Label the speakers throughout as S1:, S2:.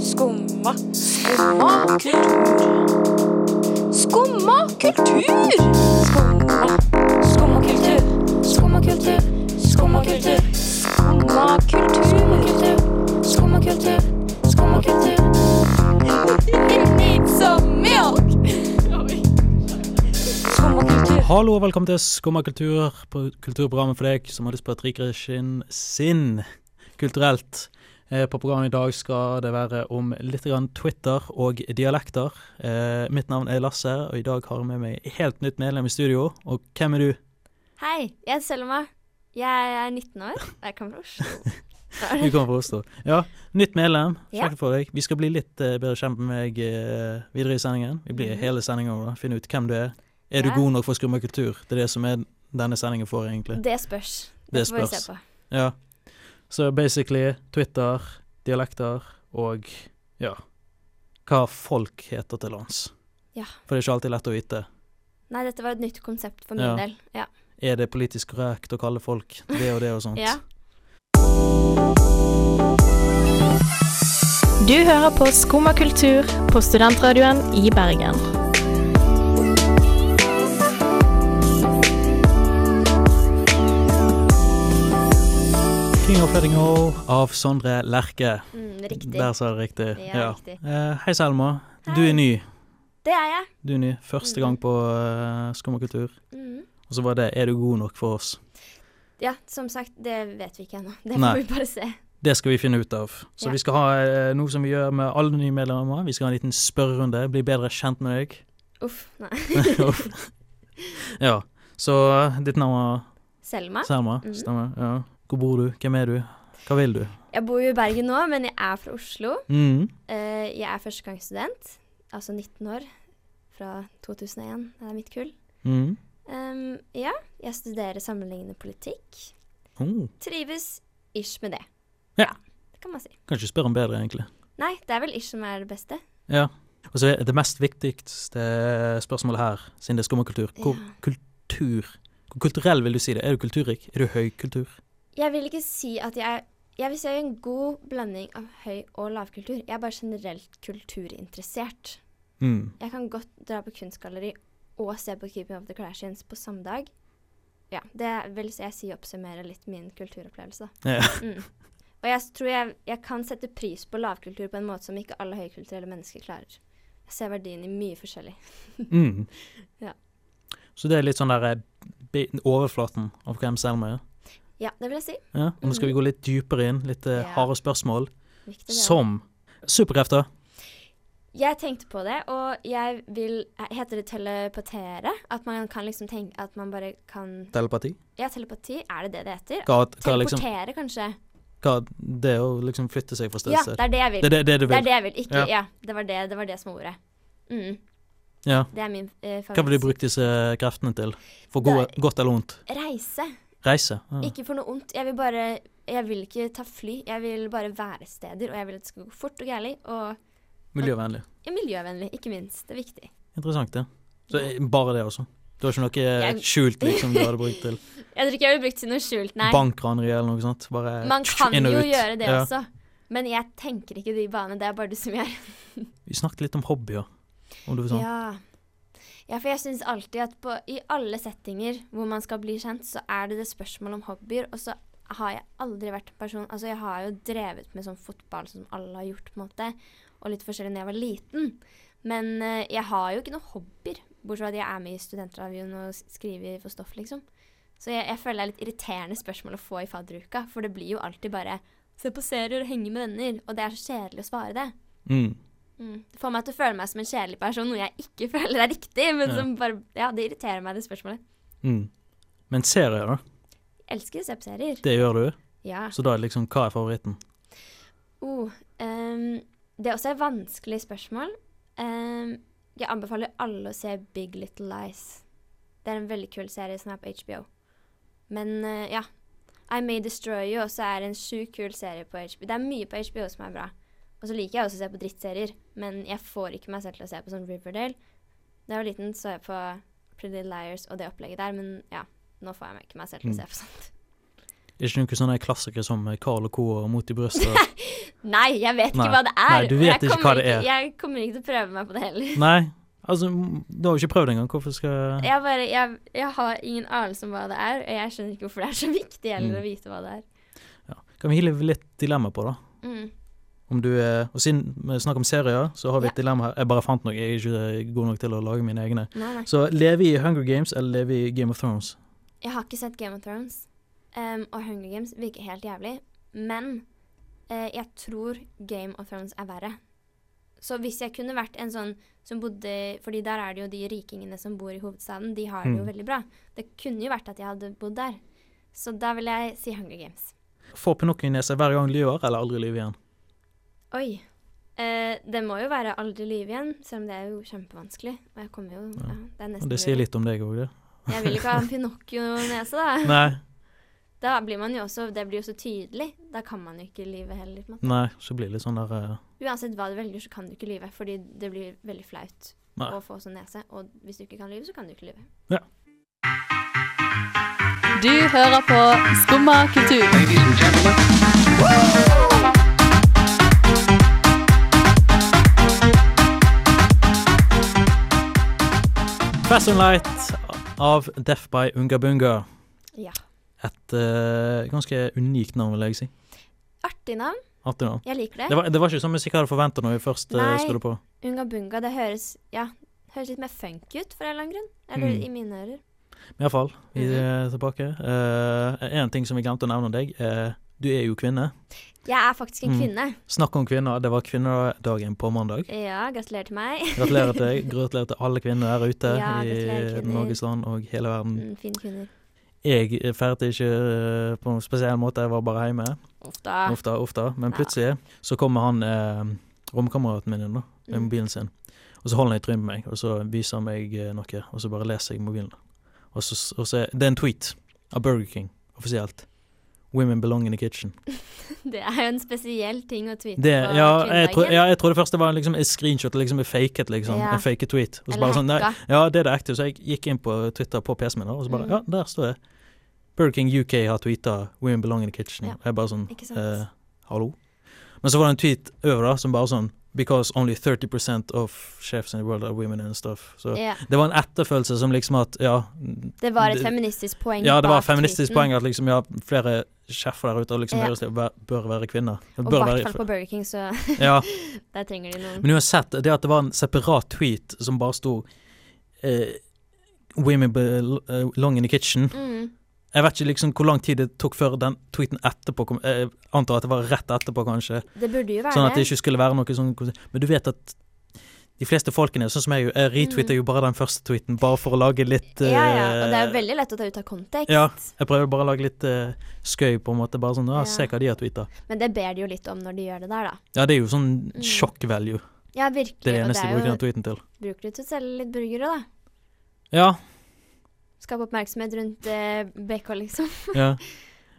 S1: Skumma kultur. Skumma kultur. Skumma kultur. Skumma kultur. Skumma kultur. Skumma kultur. Skumma kultur. Skumma kultur. Need some milk. Skumma kultur.
S2: Hallo og velkommen til Skumma kultur, på- kulturprogrammet for deg som har lyst på et rikere skinn sinn kulturelt. Eh, På programmet i dag skal det være om litt grann Twitter og dialekter. Eh, mitt navn er Lasse, og i dag har jeg med meg helt nytt medlem i studio. Og hvem er du?
S3: Hei, jeg er Selma. Jeg er 19 år. og Jeg kommer fra Oslo.
S2: Du kommer fra Oslo. Ja, nytt medlem.
S3: Ja.
S2: Kjekt for deg. Vi skal bli litt eh, bedre kjent med meg eh, videre i sendingen. Vi blir hele sendingen over, da. finne ut hvem du er. Er du
S3: Mhm. Ja.
S2: god nok for Skumma kultur? Det er det som er denne sendingen for, egentlig.
S3: Det spørs.
S2: Det
S3: får vi
S2: spørs.
S3: se på.
S2: Ja. Så basically Twitter, dialekter og ja Hva folk heter til lands.
S3: Ja.
S2: For det er ikke alltid lett å vite.
S3: Nei, dette var et nytt konsept for min
S2: Ja.
S3: del. Ja.
S2: Er det politisk korrekt å kalle folk det og det og sånt?
S3: Ja.
S4: Du hører på Skumma kultur på Studentradioen i Bergen.
S2: King of Letting Go av Sondre Lerche.
S3: Mm, riktig.
S2: Der sa jeg det riktig.
S3: Ja, riktig.
S2: Eh, hei, Selma. Du
S3: Hei. Mm.
S2: er ny.
S3: Det er jeg.
S2: Du er ny. Første gang på uh, Skummakultur.
S3: Mm.
S2: Og så var det 'Er du god nok for oss?'
S3: Ja, som sagt, det vet vi ikke ennå. Det
S2: Nei.
S3: får vi bare se.
S2: Det skal vi finne ut av. Så
S3: Ja.
S2: vi skal ha eh, noe som vi gjør med alle nye medlemmer. Vi skal ha en liten spørrerunde. Bli bedre kjent med deg.
S3: Uff. Nei.
S2: Uff. ja, så eh, ditt navn var
S3: Selma.
S2: Selma,
S3: Mhm.
S2: stemmer. Ja. Hvor bor du? Hvem er du? Hva vil du?
S3: Jeg bor jo i Bergen nå, men jeg er fra Oslo.
S2: Mhm.
S3: Eh, jeg er førstegangsstudent, altså 19 år, fra 2001. Det er mitt kull.
S2: Mhm.
S3: Um, ja, jeg studerer sammenlignende politikk.
S2: Oh,
S3: Trives ish med det.
S2: Ja.
S3: Det kan man si.
S2: kan ikke spørre om bedre, egentlig.
S3: Nei, det er vel ish som er det beste.
S2: Ja. Og så er det mest viktigste spørsmålet her, siden det er skummakultur, hvor
S3: Ja.
S2: kultur Hvor kulturell vil du si det? Er du kulturrik? Er du høykultur?
S3: Jeg vil ikke si at jeg er Jeg vil si jeg er en god blanding av høy- og lavkultur. Jeg er bare generelt kulturinteressert.
S2: Mm.
S3: Jeg kan godt dra på kunstgalleri og se på Keeping of the Kardashians på samme dag. Ja, det vil si jeg si oppsummerer litt min kulturopplevelse, da.
S2: Ja.
S3: Mm. Og jeg s- tror jeg, jeg kan sette pris på lavkultur på en måte som ikke alle høykulturelle mennesker klarer. Jeg ser verdien i mye forskjellig.
S2: Mm.
S3: Ja.
S2: Så det er litt sånn der eh, bi- overflaten av hvem Selma er.
S3: Ja, det vil jeg si.
S2: Ja. Og nå skal vi gå litt dypere inn, litt eh,
S3: Ja.
S2: harde spørsmål,
S3: Viktig, det.
S2: som superkrefter.
S3: Jeg tenkte på det, og jeg vil eh, Heter det telepatere? At man kan liksom tenke At man bare kan
S2: Telepati.
S3: Ja, telepati, er det det det heter?
S2: Hva, hva, liksom,
S3: Teleportere, kanskje?
S2: hva det å liksom flytte seg fra sted
S3: Ja,
S2: til
S3: det
S2: sted.
S3: er det jeg vil.
S2: Det er det, det du
S3: Det er
S2: vil.
S3: det jeg vil. Ikke
S2: Ja.
S3: Ja, det, var det, det var det som var ordet. Mm,
S2: Ja.
S3: det er min eh, favoritt.
S2: Hva vil du bruke disse kreftene til? For gode,
S3: Det
S2: godt eller vondt?
S3: Reise.
S2: Reise? Ja.
S3: Ikke for noe ondt. Jeg vil bare Jeg vil ikke ta fly. Jeg vil bare være steder, og jeg vil at det skal gå fort og gærlig. Og
S2: Miljøvennlig.
S3: ja, miljøvennlig, ikke minst. Det er viktig.
S2: Interessant, det. Så eh, bare det, altså. Du har ikke noe eh,
S3: Jeg-
S2: skjult liksom du hadde brukt til
S3: Jeg tror ikke jeg ville brukt til noe skjult, nei.
S2: bankraneri eller noe sånt? Bare
S3: Man kan
S2: inn og
S3: jo
S2: ut.
S3: gjøre det
S2: Ja.
S3: også. Men jeg tenker ikke de banene. Det er bare du som gjør.
S2: Vi snakket litt om hobbyer, om du vil sånn.
S3: Ja. ja, for jeg syns alltid at på, i alle settinger hvor man skal bli kjent, så er det det spørsmål om hobbyer. Og så har jeg aldri vært en person Altså, jeg har jo drevet med sånn fotball som alle har gjort, på en måte. Og litt forskjellig da jeg var liten. Men eh, jeg har jo ikke noen hobbyer. Bortsett fra at jeg er med i Studentradioen og s- skriver for stoff, liksom. Så jeg, jeg føler det er litt irriterende spørsmål å få i fadderuka. For det blir jo alltid bare se på serier og henge med venner. Og det er så kjedelig å svare det.
S2: Mm.
S3: Mm. Det får meg til å føle meg som en kjedelig person, noe jeg ikke føler er riktig. Men
S2: Ja.
S3: som bare, ja, det irriterer meg, det spørsmålet.
S2: Mm. Men serier, da?
S3: Jeg elsker å se på serier.
S2: Det gjør du?
S3: Ja.
S2: Så da er det liksom Hva er favoritten?
S3: Oh, ehm, det er også et vanskelig spørsmål. Ehm, jeg anbefaler alle å se Big Little Lies. Det er en veldig kul serie som er på HBO. Men eh, ja. I May Destroy You også er en sjukt kul serie på HBO. Det er mye på HBO som er bra. Og så liker jeg også å se på drittserier, men jeg får ikke meg selv til å se på sånn Riverdale. Da jeg var liten, så jeg på Pretty Little Liars og det opplegget der, men ja. Nå får jeg meg ikke meg selv til å se på sånt.
S2: Det er ikke noen sånne klassikere som eh, Carl og Co. og Mot i brystet.
S3: Nei, jeg vet
S2: Nei.
S3: ikke hva det er.
S2: Nei, du
S3: og
S2: vet
S3: jeg
S2: ikke
S3: kommer
S2: hva det
S3: ikke-
S2: er.
S3: Jeg kommer ikke til å prøve meg på det heller.
S2: Nei, altså, m- du har jo ikke prøvd engang. Hvorfor skal
S3: Jeg, bare, jeg, jeg har ingen anelse om hva det er, og jeg skjønner ikke hvorfor det er så viktig heller
S2: Mm.
S3: å vite hva det er.
S2: ja. Kan vi hive litt dilemma på, da?
S3: Mm.
S2: Om du er, og siden vi snakker om serier, så har vi et
S3: Ja.
S2: dilemma her. Jeg bare fant noe. Jeg er ikke god nok til å lage mine egne.
S3: Nei, nei.
S2: Så leve i Hunger Games eller leve i Game of Thrones?
S3: Jeg har ikke sett Game of Thrones, em, og Hunger Games virker helt jævlig. Men eh, jeg tror Game of Thrones er verre. Så hvis jeg kunne vært en sånn som bodde Fordi der er det jo de rikingene som bor i hovedstaden. De har det jo
S2: Mm.
S3: veldig bra. Det kunne jo vært at jeg hadde bodd der. Så da vil jeg si Hunger Games.
S2: Får Pinocchio i nesa hver gang han lyver, eller aldri lyve igjen?
S3: Oi. Eh, det må jo være aldri lyve igjen, selv om det er jo kjempevanskelig. Og jeg kommer jo
S2: Ja.
S3: ja, Det er
S2: Og
S3: nesten
S2: det sier
S3: umulig.
S2: litt om deg òg, det.
S3: Jeg vil ikke ha en Pinocchio-nese, da.
S2: Nei,
S3: Da blir man jo også Det blir jo så tydelig. Da kan man jo ikke lyve heller. på en måte.
S2: nei, så blir det litt sånn der eh,
S3: Uansett hva du velger, så kan du ikke lyve, fordi det blir veldig flaut
S2: Nei.
S3: å få sånn nese. Og hvis du ikke kan lyve, så kan du ikke lyve.
S4: Du hører på Skumma kultur.
S2: Fashion Light av Death by Unga Bunga.
S3: Ja.
S2: Et eh, ganske unikt navn, vil jeg si.
S3: Artig navn.
S2: Artig navn.
S3: Jeg liker
S2: Det
S3: det.
S2: var, det var ikke sånn musikk jeg hadde forventa når vi først uh,
S3: Nei.
S2: skulle på.
S3: Unga bunga, det høres Ja, høres litt mer funk ut, for en eller annen grunn. Eller
S2: Mm.
S3: i mine ører.
S2: Men iallfall, vi
S3: Mhm.
S2: er tilbake. Eh, en ting som vi glemte å nevne om deg. eh, du er jo kvinne.
S3: Jeg er faktisk en
S2: Mm.
S3: kvinne.
S2: Snakk om kvinner. Det var kvinnedagen på mandag.
S3: Ja, gratulerer til meg.
S2: Gratulerer til deg. Gratulerer til alle kvinner der ute
S3: Ja, gratulerer,
S2: i
S3: kvinner.
S2: Norges land og hele verden.
S3: Mm, fine kvinner.
S2: Jeg feirte ikke eh, på noen spesiell måte, jeg var bare hjemme.
S3: Uff da.
S2: Ofte, ofte. Men
S3: Ah. Ja.
S2: plutselig så kommer han eh, romkameraten min inn da, med
S3: Mm.
S2: mobilen sin. Og så holder han i trynet på meg, og så viser han meg eh, noe, og så bare leser jeg mobilen. Og så, og så Det er en tweet av Burger King, offisielt. Women belong in the kitchen.
S3: Det er jo en spesiell ting å tweete
S2: Det,
S3: på
S2: ja, jeg tro,
S3: kvinnedagen.
S2: ja, jeg trodde først det var liksom et screenshot, liksom en faket, liksom.
S3: Ja.
S2: En faket tweet. Og så
S3: Eller
S2: bare sånn, nei,
S3: hacka.
S2: ja, det er det ekte. Så jeg gikk inn på Twitter på PC-en min, da, og så bare
S3: Mm.
S2: Ja, der står det. Burger King UK har tweeta 'Women belong in the kitchen'.
S3: Ja,
S2: Og Jeg bare sånn
S3: ikke sant?
S2: eh, Hallo? Men så var det en tweet over da, som bare sånn Because only 30 of chefs in the world are women and stuff. Så
S3: Ja,
S2: det var en etterfølelse som liksom at Ja,
S3: det var et
S2: Det-
S3: feministisk poeng
S2: ja det var
S3: bak
S2: et feministisk
S3: tweeten.
S2: poeng at liksom, ja, flere sjefer der ute og liksom
S3: Ja.
S2: høres til å være- bør være kvinner.
S3: Og i
S2: Bør
S3: hvert
S2: være-
S3: fall på Burger King, så
S2: Ja.
S3: der trenger de noen
S2: Men uansett, det at det var en separat tweet som bare sto eh, Women belong in the kitchen.
S3: mm.
S2: Jeg vet ikke liksom hvor lang tid det tok før den tweeten etterpå kom. Jeg antar at det var rett etterpå, kanskje.
S3: Det burde jo være
S2: Sånn at det ikke skulle være noe sånn Men du vet at de fleste folkene, sånn som jeg, jo, jeg retweeter jo bare den første tweeten bare for å lage litt
S3: Mm. Ja, ja,
S2: eh,
S3: og det er jo veldig lett å ta ut av kontekst.
S2: Ja. Jeg prøver bare å lage litt eh, skøy, på en måte. Bare sånn
S3: Ja.
S2: ja, se hva de har tweeta.
S3: Men det ber de jo litt om når de gjør det der, da.
S2: Ja, det er jo sånn
S3: Mm.
S2: sjokk value.
S3: Ja, virkelig.
S2: Det er det
S3: og det
S2: eneste jeg
S3: er
S2: bruker
S3: jo
S2: den tweeten til.
S3: bruker de til å selge litt burgere, da.
S2: Ja,
S3: Skape oppmerksomhet rundt eh, BK, liksom.
S2: ja.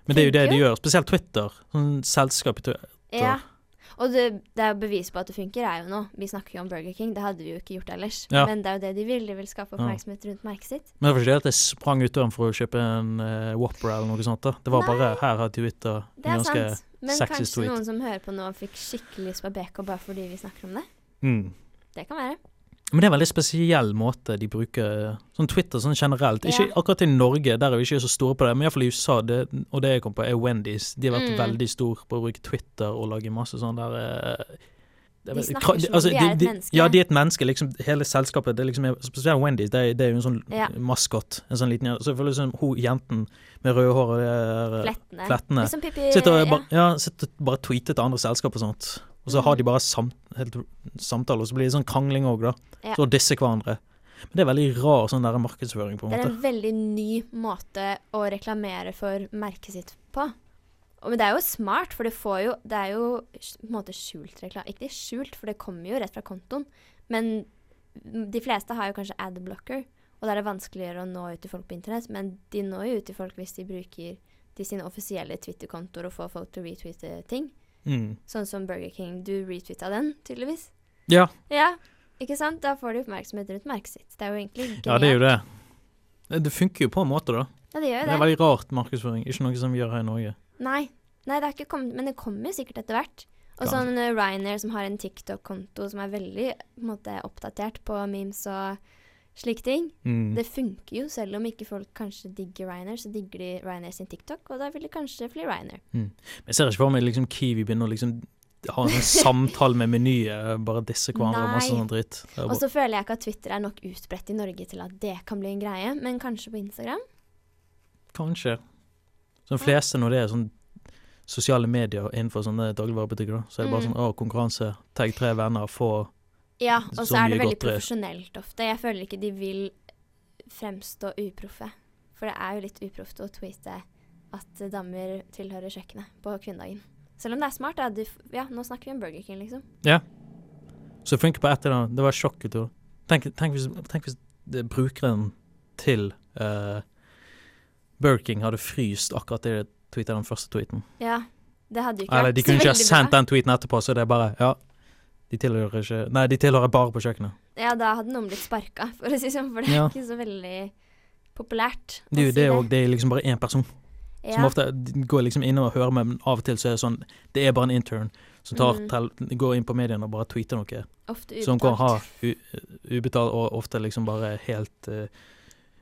S2: Men det er jo det
S3: Funker
S2: de
S3: jo.
S2: gjør. Spesielt Twitter. Sånn selskap i Twitter.
S3: Ja. Og det, det er jo bevis på at det funker, er jo nå. Vi snakker jo om Burger King, det hadde vi jo ikke gjort ellers.
S2: Ja.
S3: Men det er jo det de vil, de vil skape
S2: Ja.
S3: oppmerksomhet rundt merket sitt.
S2: Men det var ikke det at jeg sprang ut døren for å kjøpe en eh, Whopper eller noe sånt. da. Det var bare her har Twitter
S3: Det er
S2: ganske
S3: sant. Men
S2: sexist
S3: kanskje
S2: tweet.
S3: noen som hører på nå, fikk skikkelig lyst på BK bare fordi vi snakker om det.
S2: mm.
S3: Det kan være.
S2: Men det er en veldig spesiell måte de bruker sånn Twitter sånn generelt. Ikke
S3: Ja.
S2: akkurat i Norge, der er vi ikke så store på det, men iallfall i USA, det, og det jeg kom på, er Wendy's. De har vært
S3: Mm.
S2: veldig store på å bruke Twitter og lage masse sånn der eh, det er
S3: De
S2: vel-
S3: snakker
S2: kra-
S3: som om
S2: altså,
S3: de er et menneske.
S2: Ja, de er et menneske. liksom Hele selskapet. det er liksom, Spesielt Wendy's. Det er, det er jo en sånn
S3: Ja.
S2: maskot. En sånn liten Så jeg føler liksom, hun jenten med røde hår og det der, eh,
S3: Flettene.
S2: flettene.
S3: Liksom Pippi
S2: Sitter og,
S3: ja.
S2: bare, ja, sitter og bare tweeter til andre selskap og sånt. Og så har de bare sam, helt, samtaler, og så blir det sånn krangling òg, da.
S3: Ja.
S2: Så disser hverandre. Men det er veldig rar sånn der markedsføring, på en
S3: Det
S2: måte.
S3: er en veldig ny måte å reklamere for merket sitt på. Og, men det er jo smart, for det, får jo, det er jo s- på en måte skjult reklame. Ikke skjult, for det kommer jo rett fra kontoen. Men de fleste har jo kanskje adblocker, og da er det vanskeligere å nå ut til folk på internett. Men de når jo ut til folk hvis de bruker de sine offisielle Twitter-kontoer og får folk til å retweete ting.
S2: Mm.
S3: Sånn som Burger King. Du retweeta den, tydeligvis.
S2: Ja.
S3: Ja, ikke sant? Da får de oppmerksomhet rundt merket sitt. Det er jo egentlig
S2: ja, det er jo det. Det Eh, funker jo på en måte, da.
S3: Ja, det gjør
S2: Det
S3: jo
S2: er
S3: det.
S2: veldig rart markedsføring. Ikke noe som vi gjør her i Norge.
S3: Nei, Nei det har ikke kommet, men det kommer jo sikkert etter hvert. Og
S2: Kanskje.
S3: sånn eh, Ryanair som har en TikTok-konto som er veldig på en måte, oppdatert på memes og slike ting.
S2: Mm.
S3: Det funker jo, selv om ikke folk kanskje digger Ryanair, så digger de Ryanair sin TikTok, og da vil de kanskje fly Ryanair.
S2: Jeg ser ikke for meg liksom Kiwi begynner å liksom ha en sånn samtale med Meny, eh, bare disse hverandre og masse
S3: Nei.
S2: sånn dritt. Det er
S3: Og
S2: bare-
S3: så føler jeg ikke at Twitter er nok utbredt i Norge til at det kan bli en greie, men kanskje på Instagram?
S2: Kanskje. Så de fleste når det er sånn sosiale medier innenfor sånne dagligvarebutikker, da, så er det bare
S3: Mm.
S2: sånn å, konkurranse, tagg tre venner, få
S3: Ja, og
S2: Så
S3: så er det
S2: mye
S3: veldig
S2: godt det er.
S3: profesjonelt ofte. Jeg føler ikke de vil fremstå uproffe. For det er jo litt uproft å tweete at damer tilhører kjøkkenet på kvinnedagen. Selv om det er smart. Da, du, f- ja, nå snakker vi om Burger King, liksom.
S2: Så flink på ett i dag. Det var sjokkultur. Tenk, tenk, hvis, tenk hvis det, brukeren til uh, Burking hadde fryst akkurat det de tweetet den første tweeten.
S3: Ja, det hadde jo ikke
S2: Eller
S3: vært
S2: de
S3: så
S2: kunne ikke ha
S3: veldig
S2: sendt
S3: bra.
S2: den tweeten etterpå, så det er bare Ja, de tilhører ikke Nei, de tilhører bare på kjøkkenet.
S3: Ja, da hadde noen blitt sparka, for å si sånn, for det er
S2: Ja.
S3: ikke så veldig populært. å
S2: Det er jo
S3: si
S2: det òg. Det er liksom bare én person som
S3: Ja.
S2: ofte går liksom inne og hører med, men av og til så er det sånn Det er bare en intern som tar,
S3: Mm.
S2: tel- går inn på mediene og bare tweeter noe.
S3: Ofte
S2: Som kan ha
S3: ubetalt.
S2: u, ubetalt, og ofte liksom bare helt eh,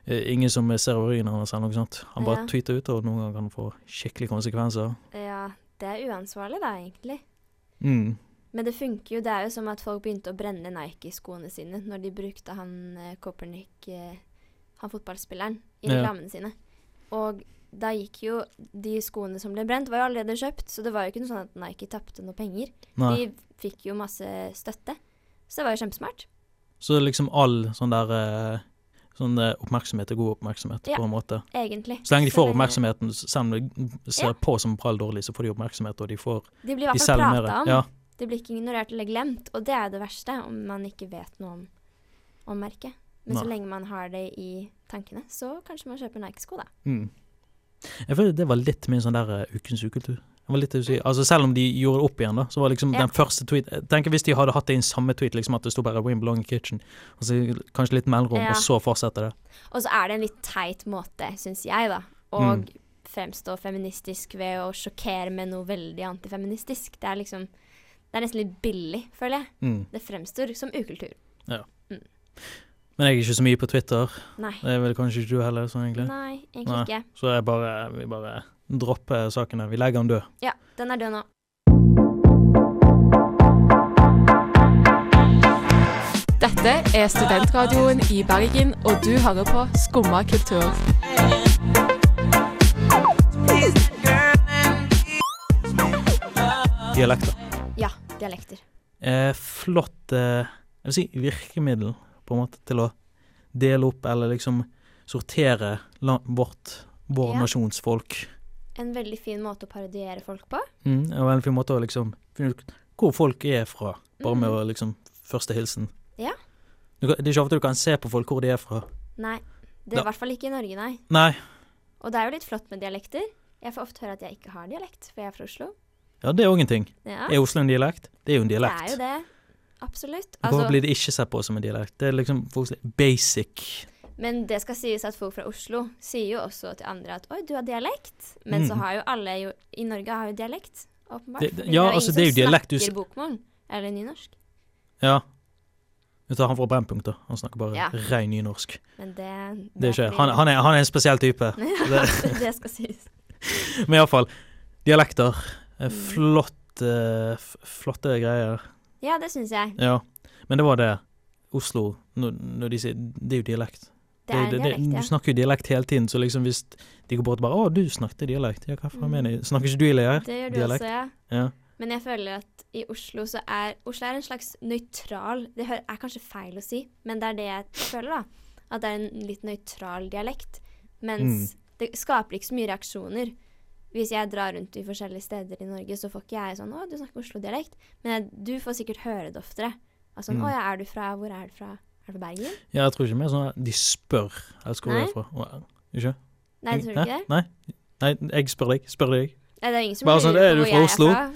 S2: eh, Ingen som ser over ryggen hans eller noe sånt. Han bare
S3: Ja.
S2: tweeter ut, og noen ganger kan det få skikkelige konsekvenser.
S3: Ja, det er uansvarlig da, egentlig.
S2: Mm.
S3: Men det funker jo. Det er jo som at folk begynte å brenne Nike-skoene sine når de brukte han eh, Kopernik, eh, han fotballspilleren, i
S2: Ja.
S3: reklamene sine. Og da gikk jo de skoene som ble brent, var jo allerede kjøpt, så det var jo ikke noe sånn at Nike tapte noe penger.
S2: Nei.
S3: De fikk jo masse støtte. Så det var jo kjempesmart.
S2: Så liksom all sånn der eh, Sånn eh, oppmerksomhet er god oppmerksomhet,
S3: Ja.
S2: på en måte.
S3: Egentlig.
S2: Så lenge de får
S3: lenge-
S2: oppmerksomheten, s- selv om det mm, ser
S3: Ja.
S2: på som prall dårlig, så får de oppmerksomhet, og de får
S3: De blir i
S2: de
S3: hvert fall
S2: selger mer.
S3: prata om.
S2: Ja.
S3: Det blir ikke ignorert eller glemt, og det er det verste om man ikke vet noe om, om merket. Men så
S2: Nei.
S3: lenge man har det i tankene, så kanskje man kjøper Nike-sko, da.
S2: Mm. Jeg føler det var litt min sånn der eh, ukens ukultur. Jeg var litt usikker. altså, selv om de gjorde det opp igjen, da, så var liksom
S3: Ja.
S2: den første tweet Jeg tenker Hvis de hadde hatt det i en samme tweet, liksom at det sto bare 'We belong in kitchen', og så kanskje litt mellomrom,
S3: Ja.
S2: og så fortsetter det.
S3: Og så er det en litt teit måte, syns jeg, da, å
S2: Mm.
S3: fremstå feministisk ved å sjokkere med noe veldig antifeministisk. Det er liksom Det er nesten litt billig, føler jeg.
S2: Mm.
S3: Det fremstår som ukultur.
S2: Men jeg er ikke så mye på Twitter.
S3: Nei.
S2: Det er vel kanskje ikke du heller, sånn egentlig.
S3: Nei, egentlig
S2: Nei.
S3: ikke.
S2: Så jeg bare, vi bare dropper sakene. Vi legger den død.
S3: Ja, den er død nå.
S4: Dette er Studentradioen i Bergen, og du hører på Skumma kultur.
S2: Dialekter.
S3: Ja, dialekter.
S2: Eh, flott eh, jeg vil si virkemiddel, på en måte, til å dele opp eller liksom sortere la- vårt, vår
S3: Ja.
S2: nasjonsfolk.
S3: En veldig fin måte å parodiere folk på.
S2: Mm, det var en fin måte å liksom finne ut hvor folk er fra, bare med
S3: Mhm.
S2: å liksom første hilsen.
S3: Ja.
S2: Du kan, det er ikke ofte du kan se på folk hvor de er fra.
S3: Nei, det er
S2: Da-
S3: i hvert fall ikke i Norge, nei.
S2: Nei,
S3: Og det er jo litt flott med dialekter. Jeg får ofte høre at jeg ikke har dialekt, for jeg er fra Oslo.
S2: ja, det er òg en ting.
S3: Ja,
S2: Er Oslo en dialekt? Det er jo en
S3: det
S2: dialekt.
S3: er jo det. Absolutt.
S2: Hvorfor
S3: Altså,
S2: blir det ikke sett på som en dialekt? Det er liksom folk sier basic.
S3: men det skal sies at folk fra Oslo sier jo også til andre at 'oi, du har dialekt', men så
S2: Mm.
S3: har jo alle jo, i Norge har jo dialekt, åpenbart.
S2: Det- det-
S3: fordi
S2: ja,
S3: ingen
S2: altså,
S3: som
S2: det er jo dialekt du s-
S3: Snakker bokmål, eller nynorsk.
S2: Ja. Vi tar han fra Brennpunkt, da. Han snakker bare
S3: Ja.
S2: rein nynorsk.
S3: Men det
S2: Det er ikke,
S3: fordi-
S2: han, han, er, han er en spesiell type. Det,
S3: det skal sies.
S2: men iallfall. Dialekter. Eh,
S3: Mm.
S2: Flott, eh, f- flotte greier.
S3: Ja, det syns jeg.
S2: Ja, men det var det. Oslo, når, når de sier Det er jo dialekt.
S3: Det er en dialekt, ja.
S2: Du snakker jo dialekt hele tiden, så liksom hvis de går bort og bare 'Å, du snakket dialekt', ja, hva faen mener jeg? Snakker ikke du dialekt?
S3: Mm. Det gjør du
S2: dialekt.
S3: også, ja.
S2: Ja.
S3: Men jeg føler at i Oslo så er Oslo er en slags nøytral Det hø- er kanskje feil å si, men det er det jeg føler, da. At det er en litt nøytral dialekt.
S2: Mm.
S3: Mens det skaper ikke så mye reaksjoner. Hvis jeg drar rundt i forskjellige steder i Norge, så får ikke jeg sånn 'Å, du snakker Oslo-dialekt'. Men jeg, du får sikkert høre det oftere. Altså sånn
S2: Mm.
S3: 'Å ja, er du fra Hvor er du fra? Er du fra Bergen?'
S2: ja, jeg tror ikke mer sånn at de spør 'Jeg skal hvor du
S3: Nei.
S2: er fra'. Å, Ikke?
S3: Nei, tror du ikke det?
S2: Nei? Nei, jeg spør deg. Spør deg.
S3: Nei, det er ingen som
S2: Bare sånn,
S3: lurer
S2: «Er
S3: på
S2: du
S3: hvor
S2: fra
S3: jeg
S2: Oslo?»
S3: er fra.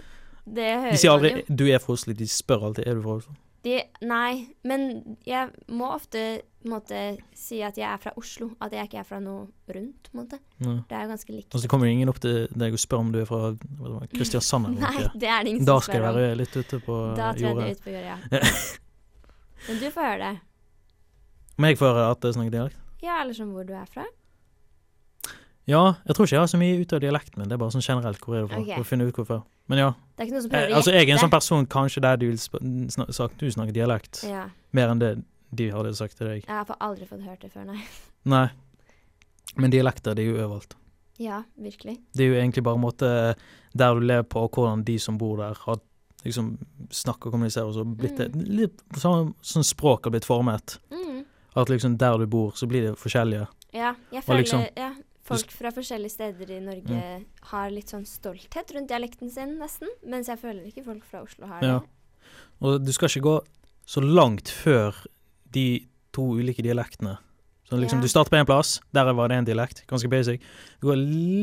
S3: Det hører
S2: De sier
S3: man jo.
S2: aldri 'du er fra Oslo', de spør alltid 'er du fra Oslo'?
S3: De, nei, men jeg må ofte på en måte, si at jeg er fra Oslo. At jeg ikke er fra noe rundt. på en måte.
S2: Ja.
S3: Det er jo ganske likt.
S2: Og så kommer jo ingen opp til deg og spør om du er fra hva det var, Kristiansand eller
S3: Nei,
S2: noe.
S3: det er det ingen
S2: Da
S3: som
S2: skal jeg
S3: spør om.
S2: være litt ute på
S3: Da tror jeg det
S2: jordet.
S3: er ute på jordet, ja. Men du får høre det.
S2: Om jeg får høre at jeg snakker dialekt?
S3: Ja, eller sånn hvor du er fra.
S2: Ja, jeg tror ikke jeg har så mye ut av dialekten min, det er bare sånn generelt hvor er du fra,
S3: Ok.
S2: for å finne ut hvorfor. Men ja,
S3: Det er ikke noen som prøver
S2: jeg,
S3: å
S2: altså jeg er en sånn
S3: gjette.
S2: person kanskje der du vil sp- snak- sagt du snakker dialekt,
S3: Ja,
S2: mer enn det de hadde sagt til deg.
S3: Jeg har fa- aldri fått hørt det før, nei.
S2: Nei, men dialekter det er jo overalt.
S3: Ja, virkelig.
S2: Det er jo egentlig bare en måte eh, der du lever på, og hvordan de som bor der, har liksom snakker og kommuniserer, og så blitt det litt sånn, sånn språk har blitt formet.
S3: Mm.
S2: At liksom der du bor, så blir det forskjellige.
S3: Ja, jeg føler
S2: liksom- Mm.
S3: ja, folk fra forskjellige steder i Norge har litt sånn stolthet rundt dialekten sin, nesten. Mens jeg føler ikke folk fra Oslo har
S2: Ja.
S3: det.
S2: Og du skal ikke gå så langt før de to ulike dialektene. Så liksom,
S3: Ja.
S2: Du starter på én plass, der var det én dialekt, ganske basic. Du går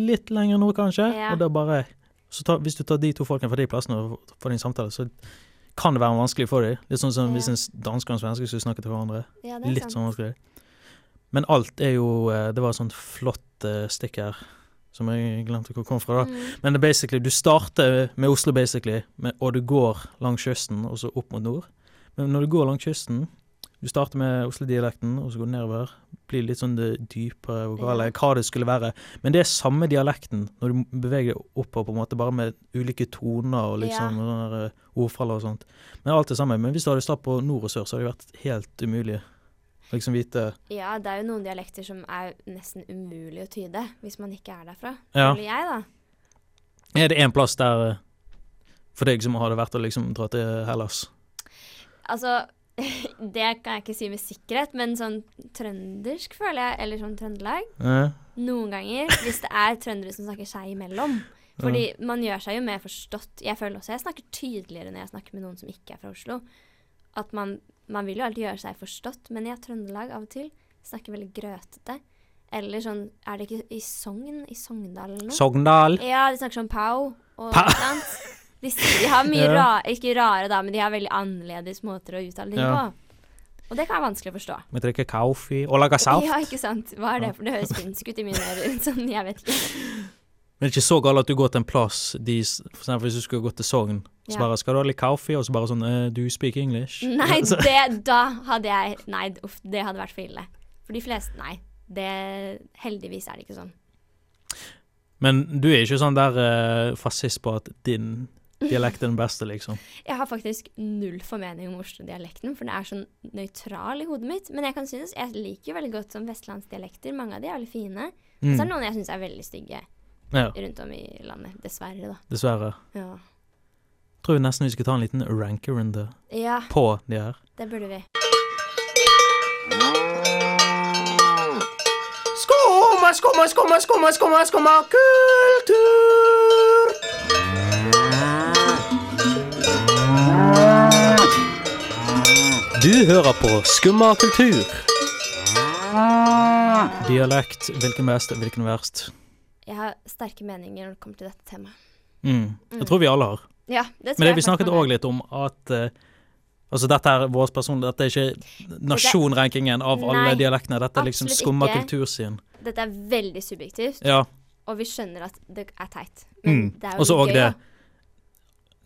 S2: litt lenger nord, kanskje,
S3: Ja.
S2: og da bare så ta, Hvis du tar de to folkene fra de plassene og får din samtale, så kan det være vanskelig for dem. Litt sånn som
S3: Ja.
S2: hvis en s- danske og en svenske skulle snakke til hverandre.
S3: Ja, det er
S2: Litt
S3: sant.
S2: sånn vanskelig. Men alt er jo eh, Det var et sånt flott eh, stikk her, som jeg glemte hvor kom fra. da.
S3: Mm.
S2: Men det er basically, du starter med Oslo, basically, med, og du går langs kysten, og så opp mot nord. Men når du går langs kysten, du starter med Oslo-dialekten, og så går du nedover. Blir litt sånn det dypere vokale, hva det skulle være. Men det er samme dialekten når du beveger deg oppover, på en måte, bare med ulike toner og litt
S3: Ja.
S2: sånn og sånne der, eh, ordfall og sånt. Men alt det samme. Men hvis du hadde startet på nord og sør, så hadde det vært helt umulig å liksom vite
S3: ja, det er jo noen dialekter som er nesten umulig å tyde hvis man ikke er derfra.
S2: Ja.
S3: Føler jeg, da.
S2: Er det én plass der eh, for deg som hadde vært å liksom dra til Hellas?
S3: Altså, det kan jeg ikke si med sikkerhet, men sånn trøndersk føler jeg, eller sånn Trøndelag.
S2: Eh?
S3: Noen ganger, hvis det er trøndere som snakker seg imellom. Fordi man gjør seg jo mer forstått. Jeg føler også jeg snakker tydeligere når jeg snakker med noen som ikke er fra Oslo. At man, man vil jo alltid gjøre seg forstått, men jeg er Trøndelag av og til. Snakker veldig grøtete. Eller sånn Er det ikke i Sogn? I Sogndal
S2: Mm.
S3: eller noe?
S2: Sogndal.
S3: Ja, de snakker sånn pow og
S2: Pow.
S3: sånt. De, s- de har mye
S2: Ja.
S3: rare, ikke rare da, men de har veldig annerledes måter å uttale ting
S2: Ja.
S3: på. Og det kan være vanskelig å forstå.
S2: Vi drikker kaffe og lager saft.
S3: Ja, ikke sant. Hva er det for Det høres finsk ut i mine ører. Sånn, jeg vet ikke.
S2: Men det er ikke så galt at du går til en plass de, s- For eksempel hvis du skulle gått til Sogn, så
S3: Ja. Mm.
S2: bare 'Skal du ha litt kaffe?' Og så bare sånn eh, 'Do you speak English?'
S3: Nei,
S2: Så-
S3: det, da hadde jeg Nei, uff, det hadde vært for ille. For de fleste Nei. Det, heldigvis er det ikke sånn.
S2: Men du er ikke sånn der eh, fascist på at din dialekt er den beste, liksom.
S3: Jeg har faktisk null formening om Oslo-dialekten, for den er sånn nøytral i hodet mitt. Men jeg kan synes, jeg liker jo veldig godt sånn vestlandsdialekter. Mange av de er veldig fine. Så er
S2: Mm.
S3: det noen jeg syns er veldig stygge
S2: Ja,
S3: rundt om i landet. Dessverre, da.
S2: dessverre.
S3: Ja.
S2: Tror nesten vi skal ta en liten rankerunde
S3: ja,
S2: på de her.
S3: det burde vi.
S5: Skumma, skumma, skumma, skumma, skumma, skumma kultur!
S2: Du hører på Skumma kultur. Dialekt. Hvilken best, hvilken verst?
S3: Jeg har sterke meninger når det kommer til dette temaet.
S2: Mm. Jeg tror vi alle har.
S3: Ja, det tror
S2: Men det
S3: jeg
S2: vi snakket
S3: faktisk man
S2: òg litt om at eh, Altså dette er vår person, dette er ikke nasjonrankingen av alle
S3: Nei,
S2: dialektene. Dette er liksom
S3: absolutt
S2: skumma
S3: ikke.
S2: kultur sin.
S3: er. Dette er veldig subjektivt,
S2: Ja.
S3: og vi skjønner at det er teit. Men
S2: Mm.
S3: det er jo
S2: Og så
S3: litt
S2: òg
S3: gøy,
S2: det
S3: da.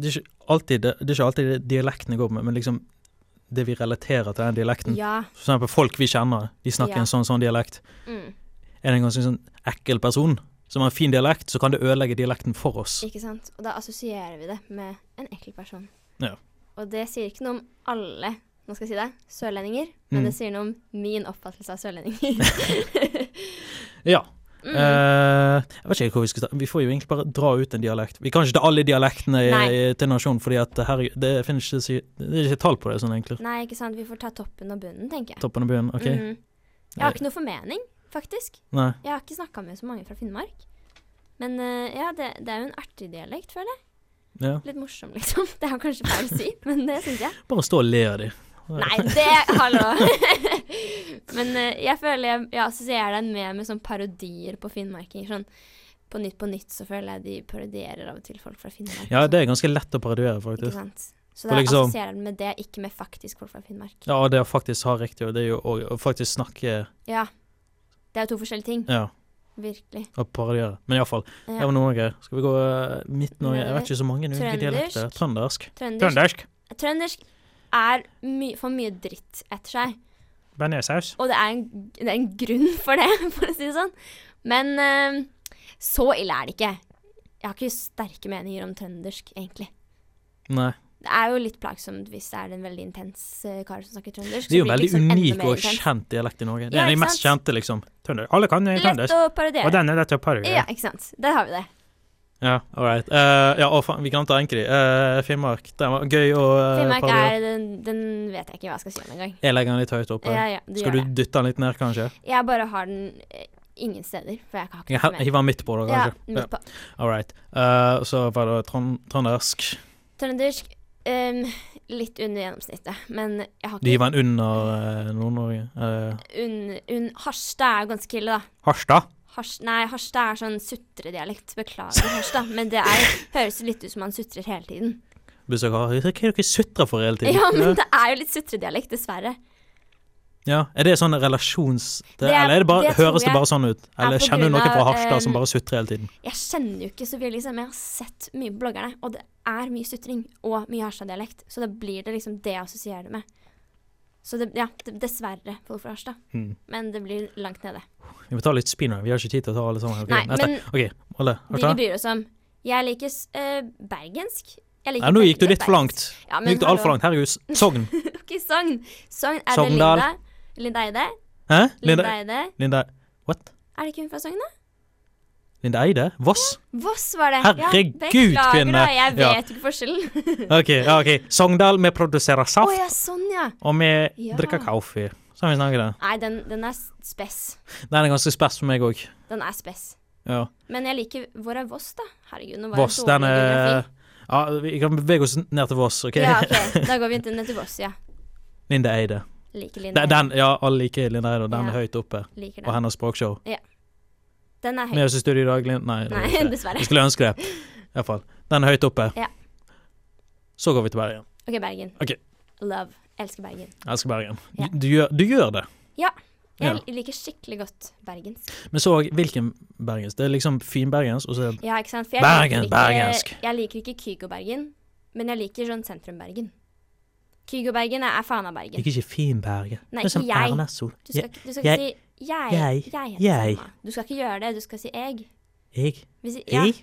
S2: Det er ikke alltid det, det, er ikke alltid det dialektene går med, men liksom det vi relaterer til den dialekten.
S3: Ja.
S2: For eksempel folk vi kjenner, de snakker
S3: Ja.
S2: en sånn sånn dialekt.
S3: Mm.
S2: Er det en ganske sånn ekkel person som har en fin dialekt, så kan det ødelegge dialekten for oss.
S3: Ikke sant? Og da assosierer vi det med en ekkel person.
S2: Ja.
S3: Og det sier ikke noe om alle nå skal jeg si det, sørlendinger, men
S2: Mm.
S3: det sier noe om min oppfattelse av sørlendinger. Mm.
S2: Ja. Eh, jeg vet ikke hvor vi skal ta Vi får jo egentlig bare dra ut en dialekt. Vi kan ikke ta alle dialektene i,
S3: Nei.
S2: til nasjonen, fordi at her, det finnes ikke, si- det er ikke tall på det, sånn egentlig.
S3: Nei, ikke sant? Vi får ta toppen og bunnen, tenker jeg.
S2: Toppen av byen, OK?
S3: Mhm. Jeg har ikke noe formening, faktisk.
S2: Nei.
S3: Jeg har ikke snakka med så mange fra Finnmark. Men eh, ja, det, det er jo en artig dialekt, føler jeg.
S2: Ja.
S3: Litt morsom, liksom. Det er kanskje feil å si, men det syns jeg.
S2: Bare stå og le av de.
S3: Nei, det Hallo. men eh, jeg føler jeg, jeg assosierer den mer med sånn parodier på finnmarkinger. Sånn på Nytt på Nytt så føler jeg de parodierer av og til folk fra Finnmark.
S2: Ja,
S3: og
S2: det er ganske lett å parodiere,
S3: sånn, Ikke
S2: faktisk.
S3: sant? Så
S2: For
S3: da
S2: liksom-
S3: assosierer den med det, ikke med faktisk folk fra Finnmark.
S2: Ja, og det å faktisk ha riktig, og det er jo å, å faktisk snakke
S3: Ja. Det er jo to forskjellige ting.
S2: Ja,
S3: Virkelig.
S2: og parodiere. Men iallfall, det
S3: Ja.
S2: var noen greier. Skal vi gå eh, Midt-Norge? Jeg vet ikke så mange ulike
S3: Trøndersk.
S2: dialekter. Trøndersk.
S3: Trøndersk,
S2: Trøndersk.
S3: trøndersk er my for mye dritt etter seg.
S2: Bearnéssaus.
S3: Og det er, en, det er en grunn for det, for å si det sånn. Men eh, så ille er det ikke. Jeg har ikke sterke meninger om trøndersk, egentlig.
S2: Nei.
S3: Det er jo litt plagsomt hvis det er en veldig intens eh, kar som snakker trøndersk.
S2: Det er jo en
S3: så blir
S2: veldig
S3: liksom enda
S2: unik
S3: mer
S2: og
S3: intenst.
S2: kjent dialekt i Norge. Det
S3: Ja,
S2: er en av de
S3: ikke
S2: mest
S3: sant?
S2: kjente, liksom. Trønder. Alle kan
S3: Lett
S2: trøndersk.
S3: å
S2: Og
S3: parodiere.
S2: den er lett å parodiere.
S3: Ja, ikke sant. Der har vi det.
S2: Ja, all right. Eh, ja, og faen, vi kan ta enke de. Eh, Finnmark. Den var gøy å eh,
S3: Finnmark
S2: parodiere.
S3: er den, den vet jeg ikke hva jeg skal si om engang.
S2: Jeg legger den litt høyt oppe.
S3: Ja, ja, du
S2: Skal
S3: gjør
S2: du dytte den litt ned, kanskje?
S3: det. Jeg bare har den eh, ingen steder, for jeg har ikke
S2: Ja,
S3: noe mer.
S2: Hiv den midt på, da,
S3: Ja,
S2: kanskje. Ja,
S3: midt på.
S2: All right. Eh, så var det trond trøndersk.
S3: Trøndersk em, litt under gjennomsnittet, men jeg har
S2: Du hiver
S3: ikke
S2: den under eh, Nord-Norge. Eh,
S3: unn... Un, Harstad er jo ganske ille, da.
S2: Harstad?
S3: Hars, nei, Harstad er sånn sutredialekt. Beklager, Harstad. Men det er, høres litt ut som man sutrer hele tiden.
S2: Besøk Hva er det dere sutrer for hele tiden?
S3: Ja, men det er jo litt sutredialekt, dessverre.
S2: Ja, Er det sånn relasjons... Det,
S3: Det er-
S2: eller er det bare,
S3: det tror
S2: høres det
S3: jeg
S2: bare sånn ut? Eller
S3: på
S2: kjenner du
S3: grunn
S2: noen fra
S3: av,
S2: Harstad som
S3: eh,
S2: bare sutrer hele tiden?
S3: Jeg kjenner jo ikke så mye, liksom. Jeg har sett mye på bloggerne, og det er mye sutring og mye Harstad-dialekt. Så da blir det liksom det jeg assosierer det med. Så det, ja, det, dessverre folk fra Harstad.
S2: Mm.
S3: Men det blir langt nede.
S2: Vi må ta litt speed nå. Vi har ikke tid til å ta alle sammen. Ok,
S3: Nei,
S2: neste.
S3: men-
S2: Ok, alle.
S3: De vi
S2: Harstad?
S3: bryr oss om. Jeg liker s- eh, bergensk. Jeg liker
S2: Ja, nå gikk du
S3: veldig
S2: litt for langt.
S3: bergensk. Ja,
S2: Nå gikk du altfor langt. Herregud. Sogn.
S3: Ok, Sogn. Sogn er det
S2: Sogndal.
S3: Linda. Linda Eide.
S2: Hæ?
S3: Linda
S2: Linda,
S3: Eide.
S2: Linda What?
S3: Er det ikke hun fra Sogn, da?
S2: Linda Eide? Voss?
S3: Voss var det.
S2: Herregud,
S3: beklager,
S2: kvinne.
S3: Da, jeg
S2: Ja.
S3: vet ikke forskjellen.
S2: OK. ja, ok. Sogndal, vi produserer
S3: Å
S2: saft,
S3: ja, sånn, ja.
S2: og vi
S3: Ja.
S2: drikker kaffe. Sånn vi snakker det.
S3: Nei, den, den er s- spess.
S2: Den er ganske spes for meg òg.
S3: Den er spess.
S2: Ja.
S3: Men jeg liker Hvor er Voss, da? Herregud, nå var
S2: Voss,
S3: jeg
S2: den
S3: dårlig i
S2: er
S3: geografi.
S2: Ja, vi kan bevege oss ned til Voss, OK?
S3: Ja, OK. Da går vi til- ned til Voss, ja.
S2: Linda Eide.
S3: Liker Linda.
S2: Den, den, ja, alle liker Linda Eide, og den
S3: Ja.
S2: er høyt oppe.
S3: Liker
S2: Og
S3: den.
S2: hennes språkshow.
S3: Den er høy.
S2: Med oss i studio i dag, Lin... Nei, det er
S3: Nei,
S2: ikke det.
S3: dessverre.
S2: jeg skulle ønske det. Iallfall. Den er høyt oppe.
S3: Ja.
S2: Så går vi til Bergen.
S3: OK, Bergen.
S2: Ok.
S3: Love. Elsker Bergen.
S2: Jeg elsker Bergen.
S3: Ja.
S2: Du, du, gjør, du gjør det.
S3: Ja.
S2: Ja.
S3: Jeg liker skikkelig godt bergensk.
S2: Men så òg hvilken bergensk? Det er liksom finbergensk, og så er det
S3: Ja, ikke sant? For jeg
S2: Bergen,
S3: liker ikke,
S2: bergensk.
S3: Jeg liker ikke Kygo-Bergen, men jeg liker sånn sentrum-Bergen. Kygo-Bergen er, er faen av Bergen.
S2: Ikke ikke finbergen.
S3: Nei,
S2: Det er sånn som
S3: ikke jeg.
S2: Erna Sol.
S3: Du skal, ikke- du skal
S2: Jeg-
S3: ikke si jeg.
S2: jeg-
S3: Jeg, heter
S2: jeg.
S3: Selma. Du skal ikke gjøre det. Du skal si jeg.
S2: Jeg.
S3: Hvis, ja,
S2: Jeg.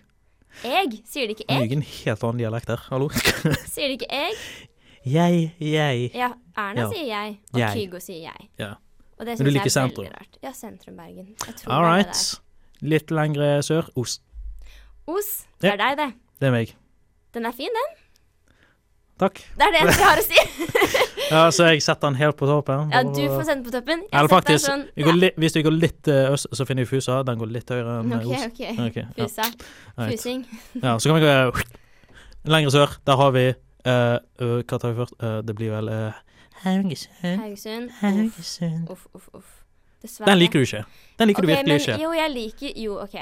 S3: jeg. Sier det ikke
S2: Nå
S3: jeg?
S2: gikk en helt annen dialekt der. Hallo.
S3: Sier det ikke jeg?
S2: jeg, jeg.
S3: Ja, Erna
S2: Ja.
S3: sier jeg, og
S2: Jeg.
S3: Kygo sier jeg.
S2: Ja.
S3: Og det
S2: Men du
S3: syns jeg
S2: liker
S3: er
S2: sentrum.
S3: veldig rart. Ja, sentrum-Bergen. Jeg tror
S2: All
S3: det er
S2: right.
S3: det der.
S2: Litt lengre sør. Os.
S3: Os, det er deg, det.
S2: Det er meg.
S3: Den er fin, den.
S2: Takk.
S3: Det er det eneste jeg har å si.
S2: Ja, så jeg setter den helt på toppen.
S3: Ja, du får sende på toppen. Jeg
S2: Eller
S3: setter den
S2: faktisk,
S3: sånn-
S2: vi går litt, hvis vi går litt eh, øst, så finner vi Fusa. Den går litt høyere enn eh,
S3: Ok,
S2: Os.
S3: ok.
S2: Ok, ja.
S3: Fusa.
S2: Right.
S3: Fusing.
S2: Ja, så kan vi gå lenger sør. Der har vi eh, ø, Hva tar vi først? Eh, det blir vel eh, Haugesund.
S3: Haugesund. Uff,
S2: Haugesund.
S3: Uff, uff, uff. Dessverre.
S2: Den liker du ikke. Den liker du virkelig
S3: men,
S2: ikke.
S3: Jo, jeg liker Jo, OK.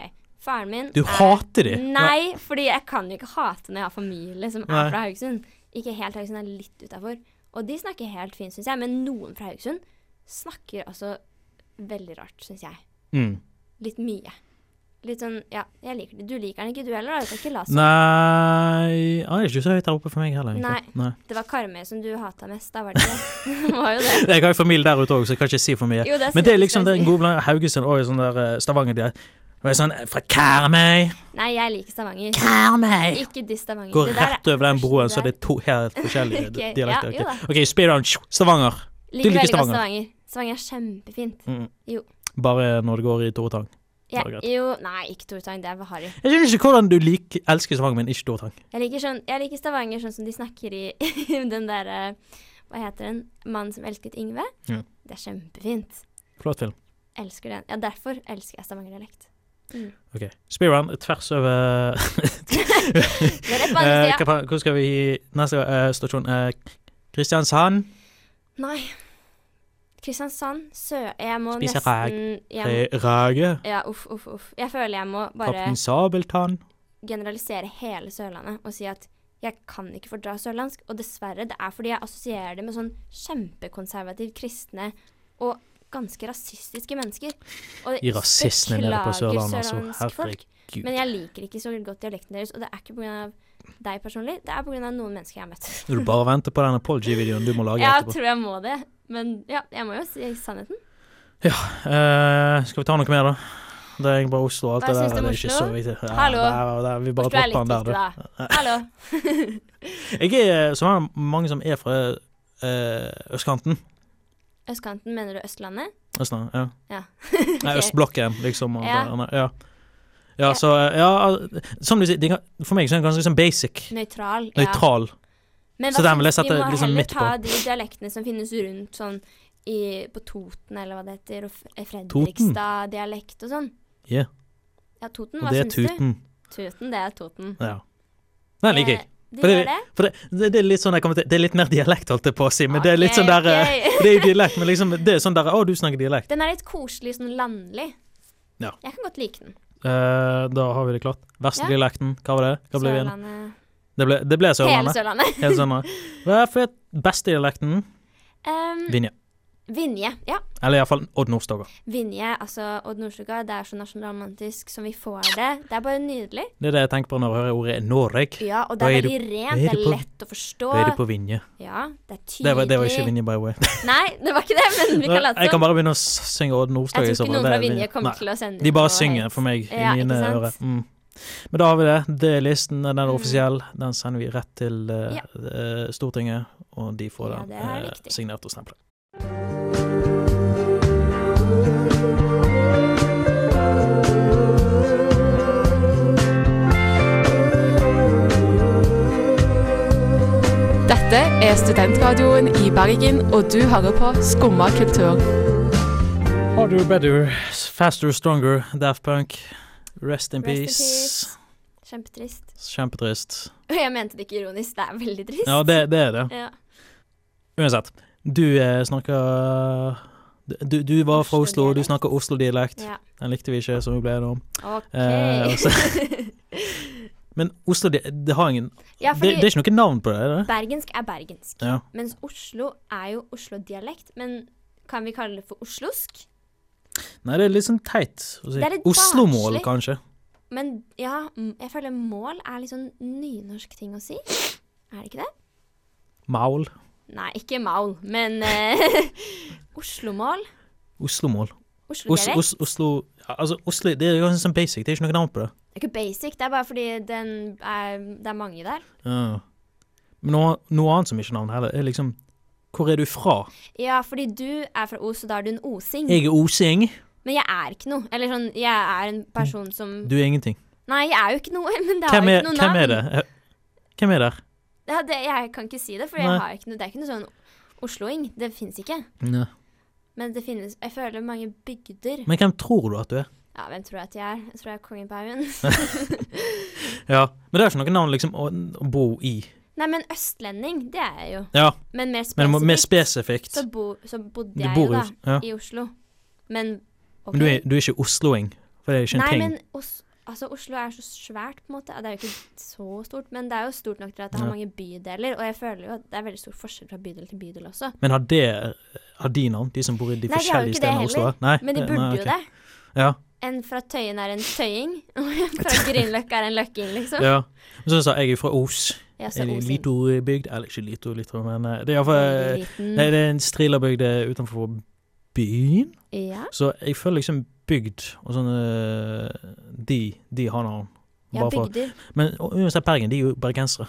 S3: Faren min
S2: Du hater de.
S3: Nei, fordi jeg kan jo ikke hate når jeg har familie som er
S2: Nei.
S3: fra Haugesund. Ikke helt Haugesund, jeg er litt utafor. Og de snakker helt fint, syns jeg. Men noen fra Haugesund snakker altså veldig rart, syns jeg.
S2: Mm.
S3: Litt mye. Litt sånn Ja, jeg liker det. Du liker den ikke, du heller? da. Du kan ikke la som.
S2: Nei ah, Det er ikke så høyt der oppe for meg heller. egentlig. Nei.
S3: Det var Karmøy som du hata mest, da var det ikke det? det var jo det.
S2: Jeg har jo familie der ute òg, så jeg kan ikke si for mye.
S3: Jo, det
S2: Men det er
S3: skal-
S2: liksom
S3: skal jeg
S2: den
S3: si.
S2: gode blandingen Haugesund og sånn der eh, Stavanger. De er de er sånn eh, Fra Karmøy!
S3: Nei, jeg liker Stavanger.
S2: Karmøy!
S3: Ikke diss Stavanger.
S2: Går
S3: Det der er-
S2: rett over den broen, så
S3: der-
S2: det er to helt forskjellige
S3: Ok, ja,
S2: dialekter. ok.
S3: jo da.
S2: OK, speed round. Tjo, Stavanger.
S3: Liker
S2: liker
S3: veldig godt
S2: Stavanger.
S3: Stavanger. Stavanger er kjempefint.
S2: Bare når det går i Tore Tang.
S3: Ja,
S2: Det var greit.
S3: jo, nei, ikke Tortang, det er for harry.
S2: Jeg skjønner ikke hvordan du liker, elsker Stavanger, men ikke Tore Tang.
S3: Jeg liker, sånn, jeg liker Stavanger sånn som de snakker i den derre Hva heter den? 'Mannen som elsket Yngve'?
S2: Ja.
S3: Det er kjempefint.
S2: Flott film.
S3: Elsker den. Ja, derfor elsker jeg Stavanger-dialekt.
S2: OK. Speed round tvers over
S3: Det er rett på
S2: Eh,
S3: andre sida.
S2: hva- Hvor skal vi i neste eh, stasjon? Eh, Kristiansand.
S3: Nei. Kristiansand, Sø... Jeg må
S2: Spiser
S3: nesten jeg må,
S2: Eh, Rage.
S3: Ja, uff, uff, uff. Jeg føler jeg må bare
S2: Kaptein Sabeltann.
S3: generalisere hele Sørlandet og si at Jeg kan ikke fordra sørlandsk, og dessverre, det er fordi jeg assosierer det med sånn kjempekonservativt kristne og ganske rasistiske mennesker. Og
S2: I rasistene nede på
S3: beklager
S2: Sørlandet, altså.
S3: sørlandsk folk,
S2: Herregud.
S3: Men jeg liker ikke så godt dialekten deres, og det er ikke pga. deg personlig, det er pga. noen mennesker jeg har møtt.
S2: Når du bare venter på den apology-videoen du må lage
S3: Jeg
S2: etterpå.
S3: tror jeg må det, men ja, jeg må jo si sannheten.
S2: Eh, skal vi ta noe mer, da? Det er egentlig bare Oslo og alt
S3: Hva
S2: det
S3: syns
S2: der.
S3: du
S2: Det
S3: om
S2: er ikke
S3: Oslo?
S2: så viktig. Ja,
S3: Hallo?
S2: der- der- vi bare
S3: Oslo er
S2: dropper
S3: litt
S2: den der,
S3: viktig,
S2: du.
S3: da. Hallo.
S2: Jeg er så er det mange som er fra eh, østkanten.
S3: Østkanten, mener du Østlandet?
S2: Østlandet, ja.
S3: Ja.
S2: Nei, østblokken, liksom. Og
S3: Ja.
S2: det- og det- ja. ja, så eh, Ja, al- som du sier, de kan- for meg så er den ganske sånn basic.
S3: Nøytral. ja.
S2: Nøytral.
S3: Men
S2: Så
S3: hva
S2: den vil jeg
S3: syns-
S2: sette liksom
S3: Vi må
S2: midt
S3: heller ta de dialektene som finnes rundt sånn i, på Toten, eller hva det heter, og F- eh, Fredrikstad-dialekt og sånn.
S2: Ja.
S3: Ja, Toten,
S2: Og
S3: hva
S2: det er
S3: syns du?
S2: tuten.
S3: Tuten, det er Toten.
S2: Ja. Den liker jeg.
S3: Eh,
S2: For
S3: Du
S2: det-
S3: gjør det?
S2: For det, det, det er litt sånn jeg kommer til Det er litt mer dialekt, holdt jeg på å si, men det er litt
S3: Ok,
S2: sånn der eh,
S3: ok.
S2: Det er jo dialekt, men liksom Det er sånn der Å, du snakker dialekt.
S3: Den er litt koselig, sånn landlig.
S2: Ja.
S3: Jeg kan godt like den.
S2: Eh, da har vi det klart. Verste
S3: Ja.
S2: dialekten, hva var det? Hva ble vi igjen?
S3: Sørlandet.
S2: Det ble, det ble
S3: Hele
S2: Sørlandet.
S3: Sørlandet.
S2: Hele Sørlandet. Hva er for beste dialekten?
S3: Um,
S2: Vinje.
S3: Vinje. Ja.
S2: Eller iallfall Odd Nordstoga.
S3: Vinje, altså Odd Nordstoga, det er så nasjonalromantisk som vi får det. Det er bare nydelig.
S2: Det er det jeg tenker på når jeg hører ordet Norge.
S3: Ja, og det
S2: Da
S3: er
S2: er du-
S3: veldig
S2: da er
S3: rent, det
S2: du
S3: er
S2: på-
S3: lett å forstå.
S2: Da er du på Vinje.
S3: Ja, det er tydelig.
S2: Det var, det var ikke Vinje, by the way.
S3: Nei, det var ikke det, men vi kan late
S2: jeg kan
S3: som.
S2: bare begynne å s- synge Odd Nordstoga. i
S3: Jeg tror
S2: så
S3: ikke
S2: fall.
S3: noen
S2: Det
S3: fra
S2: er
S3: Vinje kommer
S2: Nei.
S3: til å sende
S2: De bare
S3: noe
S2: synger
S3: hate.
S2: for meg i
S3: Ja, ikke
S2: mine
S3: sant? Mm.
S2: ører. Mm. Men da har vi det. Det er listen. Den er offisiell. Den sender vi rett til eh, eh, Stortinget, og de får
S3: Ja,
S2: den
S3: det er
S2: eh,
S3: riktig.
S2: signert og stemplet.
S4: Dette er Studentradioen i Bergen, og du hører på Skumma kultur.
S2: Harder, better, faster, stronger, Daft Punk. Rest in
S3: Rest in
S2: peace.
S3: peace. Kjempetrist.
S2: Kjempetrist.
S3: Og jeg mente det ikke ironisk, det er veldig trist.
S2: Ja, det, det er det.
S3: Ja.
S2: Uansett. Du eh, snakker du, du var fra Oslo, og du
S3: Oslo-dialekt.
S2: snakker Oslo-dialekt.
S3: Ja.
S2: Den likte vi ikke, så vi ble enige om.
S3: OK.
S2: Eh, og Men Oslo, det, det har ingen
S3: ja,
S2: det, det
S3: fordi
S2: er ikke noe navn på det? er det?
S3: bergensk er bergensk.
S2: Ja.
S3: Mens Oslo er jo Oslo-dialekt. Men kan vi kalle det for oslosk?
S2: Nei, det er litt sånn teit å si.
S3: Det er litt
S2: Oslo-mål,
S3: barnslig.
S2: kanskje.
S3: Men ja, m- jeg føler mål er litt sånn nynorsk ting å si. Er det ikke det?
S2: Maul.
S3: Nei, ikke maul, men eh, Oslo-mål.
S2: Oslo-mål. Os,
S3: Oslo-dialekt.
S2: os, Oslo ja, Altså, Oslo Det er jo ganske sånn basic. Det er ikke noe navn på det.
S3: Det er ikke basic, det er bare fordi den er, det er mange der.
S2: Ja. Men noe, noe annet som ikke er navn heller, er liksom Hvor er du fra?
S3: Ja, fordi du er fra Os, og da er du en osing.
S2: Jeg er osing.
S3: Men jeg er ikke noe. Eller sånn, jeg er en person som
S2: Du er ingenting.
S3: Nei, jeg er jo ikke noe, men det har
S2: Hvem
S3: jo
S2: er,
S3: ikke noe
S2: hvem
S3: navn.
S2: er det? Eh, Hvem er der?
S3: Ja, det, jeg kan ikke si det, for
S2: Nei.
S3: jeg har ikke noe, det er ikke noe sånn osloing. Det fins ikke.
S2: Nei.
S3: Men det finnes Jeg føler mange bygder.
S2: Men hvem tror du at du er?
S3: Ja, hvem tror jeg at jeg er? Jeg tror jeg er kongen på haugen.
S2: Ja. Men det er ikke noe navn liksom å, å bo i.
S3: Nei, men østlending, det er jeg jo.
S2: Ja,
S3: Men mer
S2: men det må-
S3: spesifikt
S2: mer spesifikt.
S3: så, bo, så bodde
S2: Du
S3: jeg
S2: bor i
S3: jo da
S2: Os- ja.
S3: i Oslo. Men ok.
S2: Men du er, du er ikke osloing, for det er ikke en
S3: Nei,
S2: ting.
S3: men Os altså, Oslo er så svært, på en måte. Ja, Det er jo ikke så stort, men det er jo stort nok til at det har
S2: Ja.
S3: mange bydeler. Og jeg føler jo at det er veldig stor forskjell fra bydel til bydel også.
S2: Men har, det, har de navn, de som bor i de
S3: Nei, de har
S2: forskjellige
S3: jo ikke det
S2: stedene i Oslo?
S3: heller,
S2: da? Nei,
S3: Men de
S2: det-
S3: burde
S2: nei,
S3: jo
S2: ok.
S3: det.
S2: Ja,
S3: En fra Tøyen er en tøying, og en fra Grünerløkka er en løkking, liksom.
S2: ja. Men så sa jeg er fra Os.
S3: Ja, så
S2: En
S3: Osing.
S2: liten bygd Eller ikke liten, liten, men eh, det er
S3: Veldig
S2: iallfall
S3: liten.
S2: Nei, det er en strillerbygd eh, utenfor byen.
S3: Ja.
S2: Så jeg føler liksom bygd og sånn eh, De, de har navn.
S3: ja,
S2: Bare for-
S3: bygder.
S2: Men og uansett, Bergen, de er jo bergensere.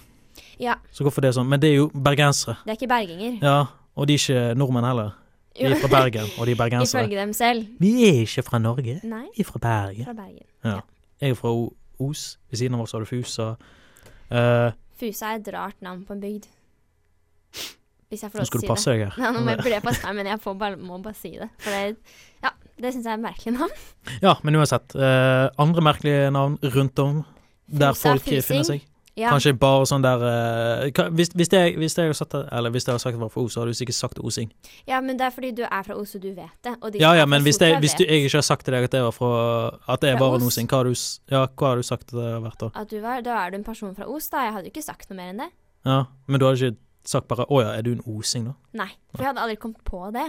S3: Ja,
S2: Så hvorfor det er sånn? Men det er jo bergensere.
S3: det er ikke berginger.
S2: Ja, og de er ikke nordmenn heller. De er
S3: Jo,
S2: fra Bergen, og de er bergensere.
S3: Ifølge dem selv.
S2: Vi er ikke fra Norge.
S3: Nei,
S2: Vi er fra Bergen.
S3: fra Bergen.
S2: Jeg er fra O- Os. Ved siden av oss har du Fusa. Eh,
S3: Fusa er et rart navn på en bygd. Hvis jeg får
S2: nå
S3: lov
S2: skal du
S3: til å si det.
S2: passe deg her.
S3: Ja, nå må jeg burde jeg passe meg, men jeg får bare, må bare si det. For det, ja, det syns jeg er et merkelig navn.
S2: Ja, men uansett. eh, andre merkelige navn rundt om der
S3: Fusa,
S2: folk eh,
S3: Fusing.
S2: finner seg.
S3: Ja.
S2: Kanskje bare sånn der eh, ka- Hvis, hvis, jeg, hvis jeg har sagt det Eller hvis jeg har sagt det var for O, så hadde du sikkert sagt osing.
S3: ja, men det er fordi du er fra Oslo, du vet det. Og de
S2: Ja
S3: som
S2: ja,
S3: er fra
S2: men hvis,
S3: Sotra
S2: jeg, hvis du,
S3: vet
S2: jeg ikke har sagt til deg at jeg var fra At jeg
S3: Fra
S2: var en
S3: Os?
S2: osing, hva har du, s- ja, hva har du sagt at det har vært da?
S3: At du var, da er du en person fra Os, da. Jeg hadde jo ikke sagt noe mer enn det.
S2: Ja, men du hadde ikke sagt bare 'Å ja, er du en osing', da?
S3: Nei, for jeg hadde aldri kommet på det.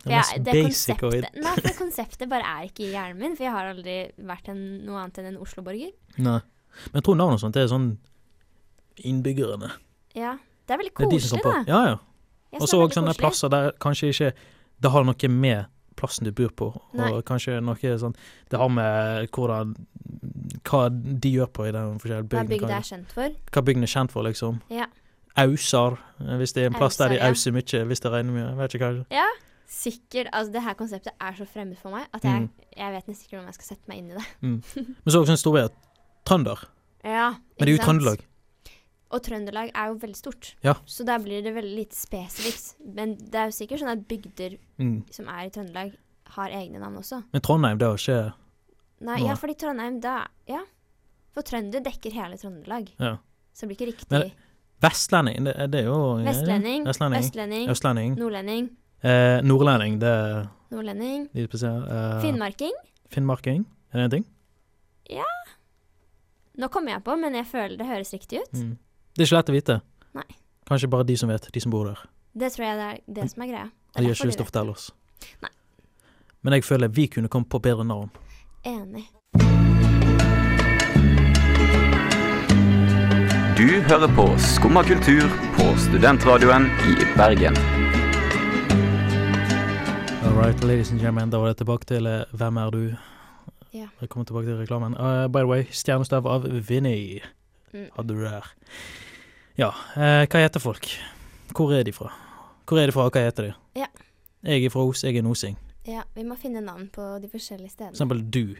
S3: For
S2: Det er
S3: jeg-
S2: mest
S3: det
S2: basic og
S3: konseptet, nei, for det konseptet bare er ikke i hjernen min, for jeg har aldri vært en, noe annet enn en Oslo-borger.
S2: Nei. Men jeg tror navn og sånt det er sånn innbyggerne.
S3: Ja, det er veldig
S2: Det er de
S3: koselig,
S2: som står på.
S3: da.
S2: Ja, ja. Og
S3: Jeg
S2: så
S3: synes det er
S2: òg sånne
S3: veldig koselig.
S2: plasser der kanskje ikke Det har noe med plassen du bor på, og
S3: Nei.
S2: kanskje noe sånn Det har med hvordan Hva de gjør på i den forskjellige
S3: Hva bygda
S2: bygden.
S3: er kjent for.
S2: Hva bygden er kjent for, liksom.
S3: Ja.
S2: Ausar, hvis det er en plass der de
S3: Ausar,
S2: auser
S3: ja.
S2: mye hvis det regner mye. Jeg vet ikke hva.
S3: Sikkert, altså Det her konseptet er så fremmed for meg at jeg,
S2: Mm.
S3: jeg vet nesten ikke hvordan jeg skal sette meg inn i det.
S2: Men så er det også en storby at Trønder.
S3: Ja,
S2: Men det er jo Trøndelag.
S3: Og Trøndelag er jo veldig stort,
S2: Ja.
S3: så der blir det veldig lite spesifikt. Men det er jo sikkert sånn at bygder
S2: Mm.
S3: som er i Trøndelag, har egne navn også.
S2: Men Trondheim, det har ikke
S3: Nei,
S2: Nå.
S3: ja, fordi Trondheim, da Ja. For trønder dekker hele Trøndelag,
S2: ja.
S3: så det blir ikke riktig.
S2: Men- Vestlending, det, det er jo
S3: Vestlending,
S2: Vestlending.
S3: østlending,
S2: Østlending.
S3: nordlending,
S2: Eh, nordlending, det er
S3: nordlending,
S2: de spesielle. Eh,
S3: finnmarking.
S2: Finnmarking, er det en ting?
S3: Nå kommer jeg på, men jeg føler det høres riktig ut.
S2: Mm. Det er ikke lett å vite.
S3: Nei.
S2: Kanskje bare de som vet, de som bor der.
S3: Det tror jeg det er det som er greia. Det er
S2: De gjør
S3: derfor
S2: ikke lyst til
S3: du
S2: å fortelle oss.
S3: Nei.
S2: Men jeg føler vi kunne kommet på bedre navn.
S3: vet. Enig.
S6: Du hører på Skumma kultur på studentradioen i Bergen.
S2: All right, ladies and gentlemen, da var det tilbake til eh, Hvem er du?
S3: Ja.
S2: Velkommen tilbake til reklamen. Eh, by the way, stjernestav av Vinny
S3: Mm.
S2: hadde du der. Ja, eh, hva heter folk? Hvor er de fra? Hvor er de fra, og hva heter de?
S3: Ja.
S2: Jeg er fra Os, jeg er en osing.
S3: Ja, vi må finne navn på de forskjellige
S2: For
S3: stedene.
S2: eksempel du.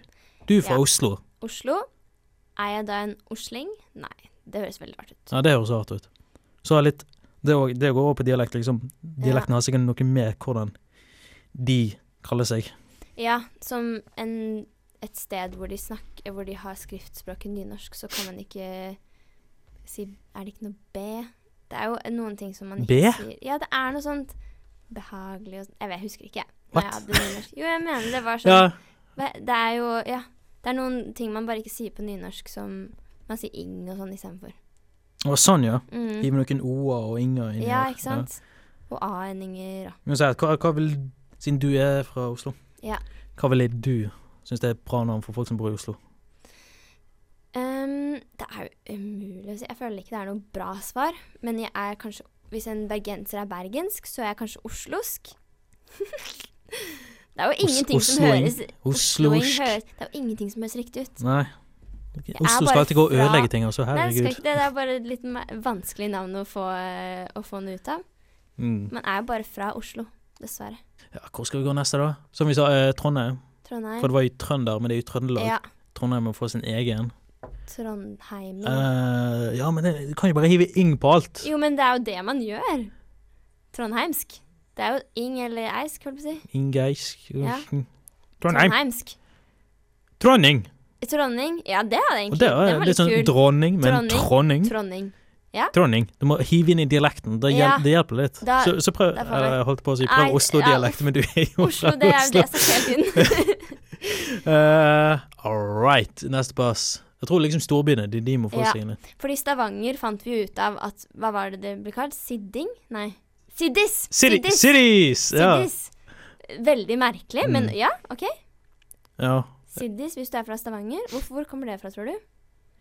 S2: Du er fra
S3: Ja.
S2: Oslo.
S3: Oslo. Er jeg da en osling? Nei, det høres veldig rart ut.
S2: Ja, det høres rart ut. Så er litt Det, å- det går over på dialekt, liksom. Dialekten har sikkert noe med hvordan de kaller seg.
S3: Ja, som en, et sted hvor de snakker, hvor de har skriftspråket nynorsk, så kan man ikke si Er det ikke noe B? Det er jo noen ting som man ikke
S2: B?
S3: sier. Ja, det er noe sånt behagelig og sånn Jeg vet, jeg husker ikke. jeg. Når
S2: What?
S3: jeg hadde nynorsk. Jo, jeg mener det var sånn
S2: Ja,
S3: Hva- Det er jo Ja. Det er noen ting man bare ikke sier på nynorsk som Man sier ing og sånn istedenfor.
S2: og sånn, ja.
S3: Mm.
S2: Hiv noen o-er og inger inn
S3: Ja,
S2: her.
S3: ikke sant? Og a-endinger
S2: Ja.
S3: og
S2: Men så er det, hva, hva vil Siden du er fra Oslo,
S3: Ja.
S2: hva ville du synes det er et bra navn for folk som bor i Oslo?
S3: Ehm, det er jo umulig å si. Jeg føler ikke det er noe bra svar. Men jeg er kanskje Hvis en bergenser er bergensk, så er jeg kanskje oslosk. det er jo ingenting som
S2: Osloing.
S3: høres
S2: Oslosk.
S3: Osloing høres- Det er jo ingenting som høres riktig ut.
S2: Nei.
S3: er
S2: Oslo
S3: bare
S2: skal alltid gå og
S3: fra-
S2: ødelegge ting, altså.
S3: Nei, det, skal
S2: Herregud.
S3: ikke, det det er bare et litt me- vanskelig navn å få, eh, å få noe ut av.
S2: Mm.
S3: Man er jo bare fra Oslo, dessverre.
S2: Ja, hvor skal vi gå neste, da? Som vi sa, eh, Trondheim. For
S3: Trondheim.
S2: det var jo Trønder, men det er jo Trøndelag.
S3: Ja,
S2: Trondheim må få sin egen.
S3: Trondheim.
S2: Eh, ja, men det, du kan jo bare hive ing på alt.
S3: Jo, men det er jo det man gjør. Trondheimsk. Det er jo ing eller eisk, holdt på å si.
S2: Ingeisk
S3: Ja.
S2: Trondheim.
S3: Trondheimsk.
S2: Dronning!
S3: Dronning. Ja, det er det
S2: Og
S3: egentlig.
S2: det er
S3: Den var
S2: litt
S3: litt
S2: sånn
S3: kul.
S2: dronning, men
S3: Dronning.
S2: tronning.
S3: Tronning.
S2: Tronning. Du må hive inn i dialekten. Det, hjel
S3: Ja.
S2: det hjelper litt.
S3: Da-
S2: så, så prøv
S3: da får
S2: eller,
S3: vi-
S2: Jeg holdt på å si
S3: Nei,
S2: prøv
S3: ja,
S2: Oslo-dialekt, men du er jo
S3: Oslo,
S2: fra
S3: det er jo
S2: Oslo.
S3: det jeg sa hele tiden.
S2: Eh, all right, neste pass. Jeg tror liksom storbyene de, de må få
S3: Ja.
S2: sine.
S3: Fordi Stavanger fant vi ut av at Hva var det det ble kalt? Sidding? Nei. Siddis!
S2: City,
S3: Siddis!
S2: cities! Ja. Mm.
S3: Siddis. Veldig merkelig, men ja, OK.
S2: ja.
S3: Siddis, hvis du er fra Stavanger. Hvor, hvor kommer det fra, tror du?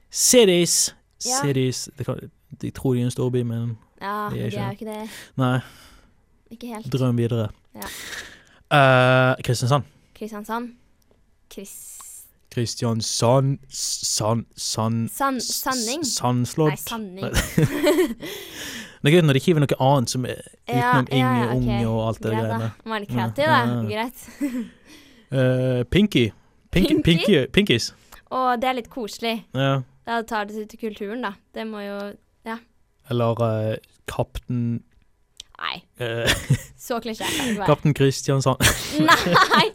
S2: Cities!
S3: Ja.
S2: Cities. Det kan, de tror de er en storby, men
S3: Ja,
S2: Det
S3: men
S2: er
S3: de er jo ikke det.
S2: nei.
S3: Ikke helt.
S2: Drøm videre.
S3: Ja.
S2: Eh, Kristiansand.
S3: Kristiansand. Kris...
S2: Kristiansand Sand... Sand...
S3: San, sanning?
S2: Sandslott.
S3: Nei, sanning.
S2: Nei. Det er gøy når de hiver noe annet som er utenom
S3: Ja, ja,
S2: ing
S3: ja, ok.
S2: og ung og alt det
S3: Greit, da.
S2: greiene.
S3: Må være litt
S2: Ja,
S3: kreativ,
S2: ja,
S3: da.
S2: ja, ja.
S3: Greit.
S2: Eh, pinky. Pinky.
S3: Pinky?
S2: Pinky. Pinkies.
S3: Og det er litt koselig.
S2: Ja.
S3: Da tar det til kulturen, da. Det må jo
S2: Eller eh, Kapten
S3: Nei,
S2: eh,
S3: så klisjé. kan det ikke være.
S2: Kapten Kristiansand.
S3: Nei!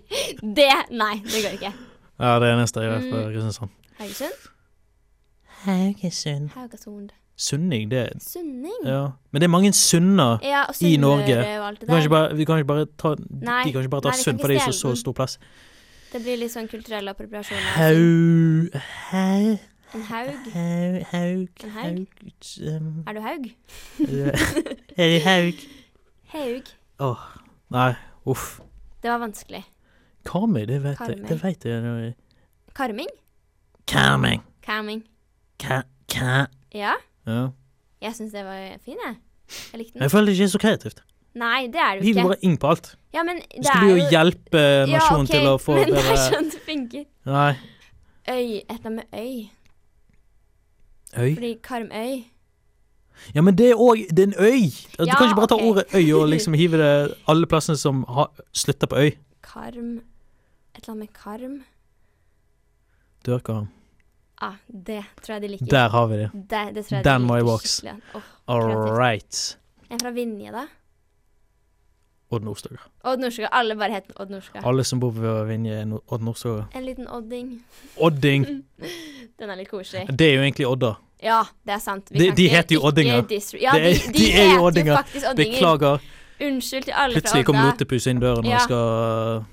S3: Det Nei, det går ikke.
S2: ja, det er neste jeg vet fra
S3: Mm.
S2: Kristiansand.
S3: Haugesund?
S7: Haugesund.
S3: Haugasund.
S2: Sunning, det
S3: Sunning. Ja,
S2: Ja. Men det er mange sunner.
S3: og
S2: I Norge.
S3: Sunnmøre og alt
S2: Vi
S3: det
S2: kan ikke
S3: der.
S2: bare, vi kan ikke bare ta
S3: Nei,
S2: De kan ikke bare ta
S3: nei, vi kan
S2: Sund,
S3: ikke
S2: for det er ikke
S3: stjele
S2: så
S3: den.
S2: stor plass.
S3: Det blir litt sånn kulturell appropriasjon. altså.
S2: Haug...
S7: Hau,
S3: En haug.
S7: hau, haug,
S3: En haug?
S7: haug um,
S3: Er du haug?
S7: Er det haug?
S3: Haug.
S2: Nei, uff.
S3: Det var vanskelig.
S2: Karmøy, det vet jeg.
S3: Karmøy.
S2: Det vet jeg. når jeg-
S3: Karming?
S7: Karming.
S3: Camming.
S7: Ka, ka.
S3: Ja,
S2: Ja.
S3: jeg syns det var fin, jeg. Jeg likte den.
S2: Jeg føler det ikke er så kreativt.
S3: Nei, det er
S2: Vi går
S3: det jo ikke.
S2: bare inn på alt.
S3: Ja, men det
S2: Skulle
S3: er
S2: jo
S3: jo
S2: hjelpe eh, nasjonen til å få
S3: men det er
S2: bedre
S3: sånn det funker.
S2: Nei.
S3: Øy. Et eller annet med øy.
S2: Øy?
S3: Fordi Karmøy
S2: Ja, men det er òg Det er en øy! Altså, du
S3: Ja,
S2: kan ikke bare ta
S3: ok.
S2: ordet øy og liksom hive det alle plassene som har, slutter på øy.
S3: Karm Et eller annet med karm.
S2: Dørkarm.
S3: Ah, det tror jeg de liker.
S2: Der har vi det.
S3: Det, det tror jeg
S2: Den
S3: de
S2: må jeg
S3: liker
S2: vokse.
S3: skikkelig. Åh,
S2: All
S3: kreativt.
S2: right.
S3: en fra Vinje, da.
S2: Odd Nordstoga.
S3: Odd Norska. Alle bare het Odd Norska.
S2: Alle som bor ved Vinje, er no- Odd Nordstoga.
S3: En liten odding.
S2: Odding!
S3: Mm. Den er litt koselig.
S2: Det er jo egentlig Odda.
S3: Ja, det er sant.
S2: De-
S3: kan
S2: de
S3: ikke-
S2: heter jo
S3: ikke
S2: oddinger.
S3: disre- Ja,
S2: Det
S3: de,
S2: er-
S3: de,
S2: de er jo
S3: heter jo
S2: oddinger.
S3: faktisk oddinger.
S2: Beklager.
S3: Unnskyld til alle
S2: Plutselig
S3: fra
S2: kommer
S3: Odda.
S2: motepus inn døren og
S3: Ja.
S2: skal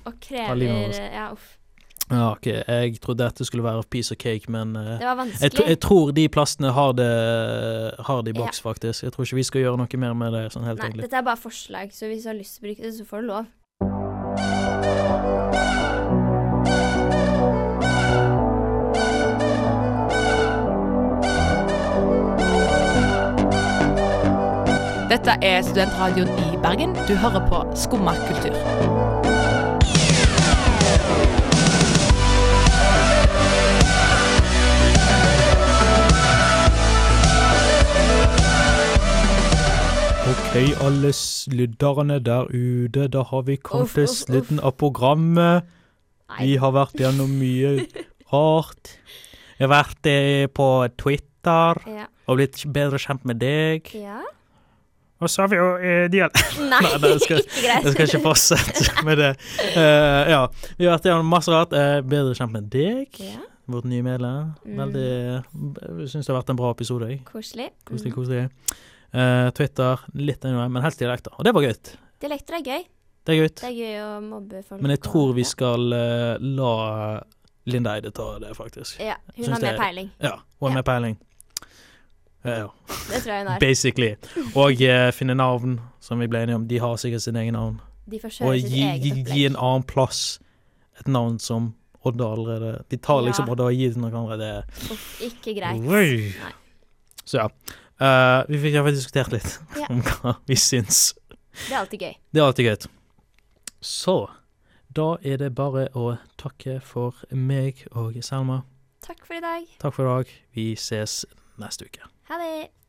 S3: Og
S2: Ta livet av
S3: krever
S2: oss.
S3: Ja, uff.
S2: Ja, OK, jeg trodde dette skulle være piece of cake, men eh, jeg,
S3: Det var
S2: tr-
S3: vanskelig.
S2: jeg tror de plastene har det, har det i boks, faktisk. Jeg tror ikke vi skal gjøre noe mer med det. sånn helt
S3: Nei,
S2: egentlig.
S3: dette er bare forslag, så hvis du har lyst til å bruke det, så får du lov.
S4: Dette er studentradioen i Bergen. Du hører på Skumma kultur.
S2: OK, alle sludderne der ute, da har vi
S3: kommet Uff, til uff, uff. slutten
S2: av programmet.
S3: Nei. Vi
S2: har vært gjennom mye rart. Jeg har vært eh, på Twitter
S3: Ja.
S2: og blitt bedre kjent med deg.
S3: ja.
S2: Og så har vi jo eh, dial-
S3: Nei,
S2: Nei, det skal-
S3: ikke greit.
S2: Jeg skal ikke fortsette med det. Eh, ja, vi har vært gjennom masse rart. Eh, bedre kjent med deg,
S3: Ja, Mm.
S2: vårt nye medlem. Veldig eh, Jeg syns det har vært en bra episode. Jeg.
S3: koselig.
S2: Koselig,
S3: Mm.
S2: koselig. Eh, Twitter, litt anyway, men helst dialekter. Og det var gøy. Det
S3: Dialekter er gøy.
S2: er
S3: Det
S2: gøy.
S3: er gøy å mobbe folk.
S2: Men jeg
S3: og-
S2: tror vi skal eh, la Linda Eide ta det, faktisk.
S3: Ja, hun
S2: Syns
S3: har
S2: det
S3: mer
S2: er-
S3: peiling.
S2: Ja, hun har med peiling. Ja, ja,
S3: Det tror jeg hun har.
S2: basically. Og eh, finne navn, som vi ble enige om. De har sikkert sin egen navn.
S3: De får
S2: Og
S3: kjøre sitt
S2: gi, gi,
S3: eget
S2: gi en
S3: opplegg.
S2: annen plass et navn som Odda allerede De tar liksom
S3: Ja.
S2: Odda og gir det til noen andre. Det.
S3: Uff, ikke greit.
S2: Oi.
S3: Nei.
S2: Så ja. Eh, vi fikk iallfall diskutert litt
S3: Ja.
S2: om hva vi syns.
S3: Det er alltid gøy.
S2: Det er alltid greit. Så da er det bare å takke for meg og Selma.
S3: Takk for i dag.
S2: Takk for i dag. Vi ses neste uke.
S3: Ha det.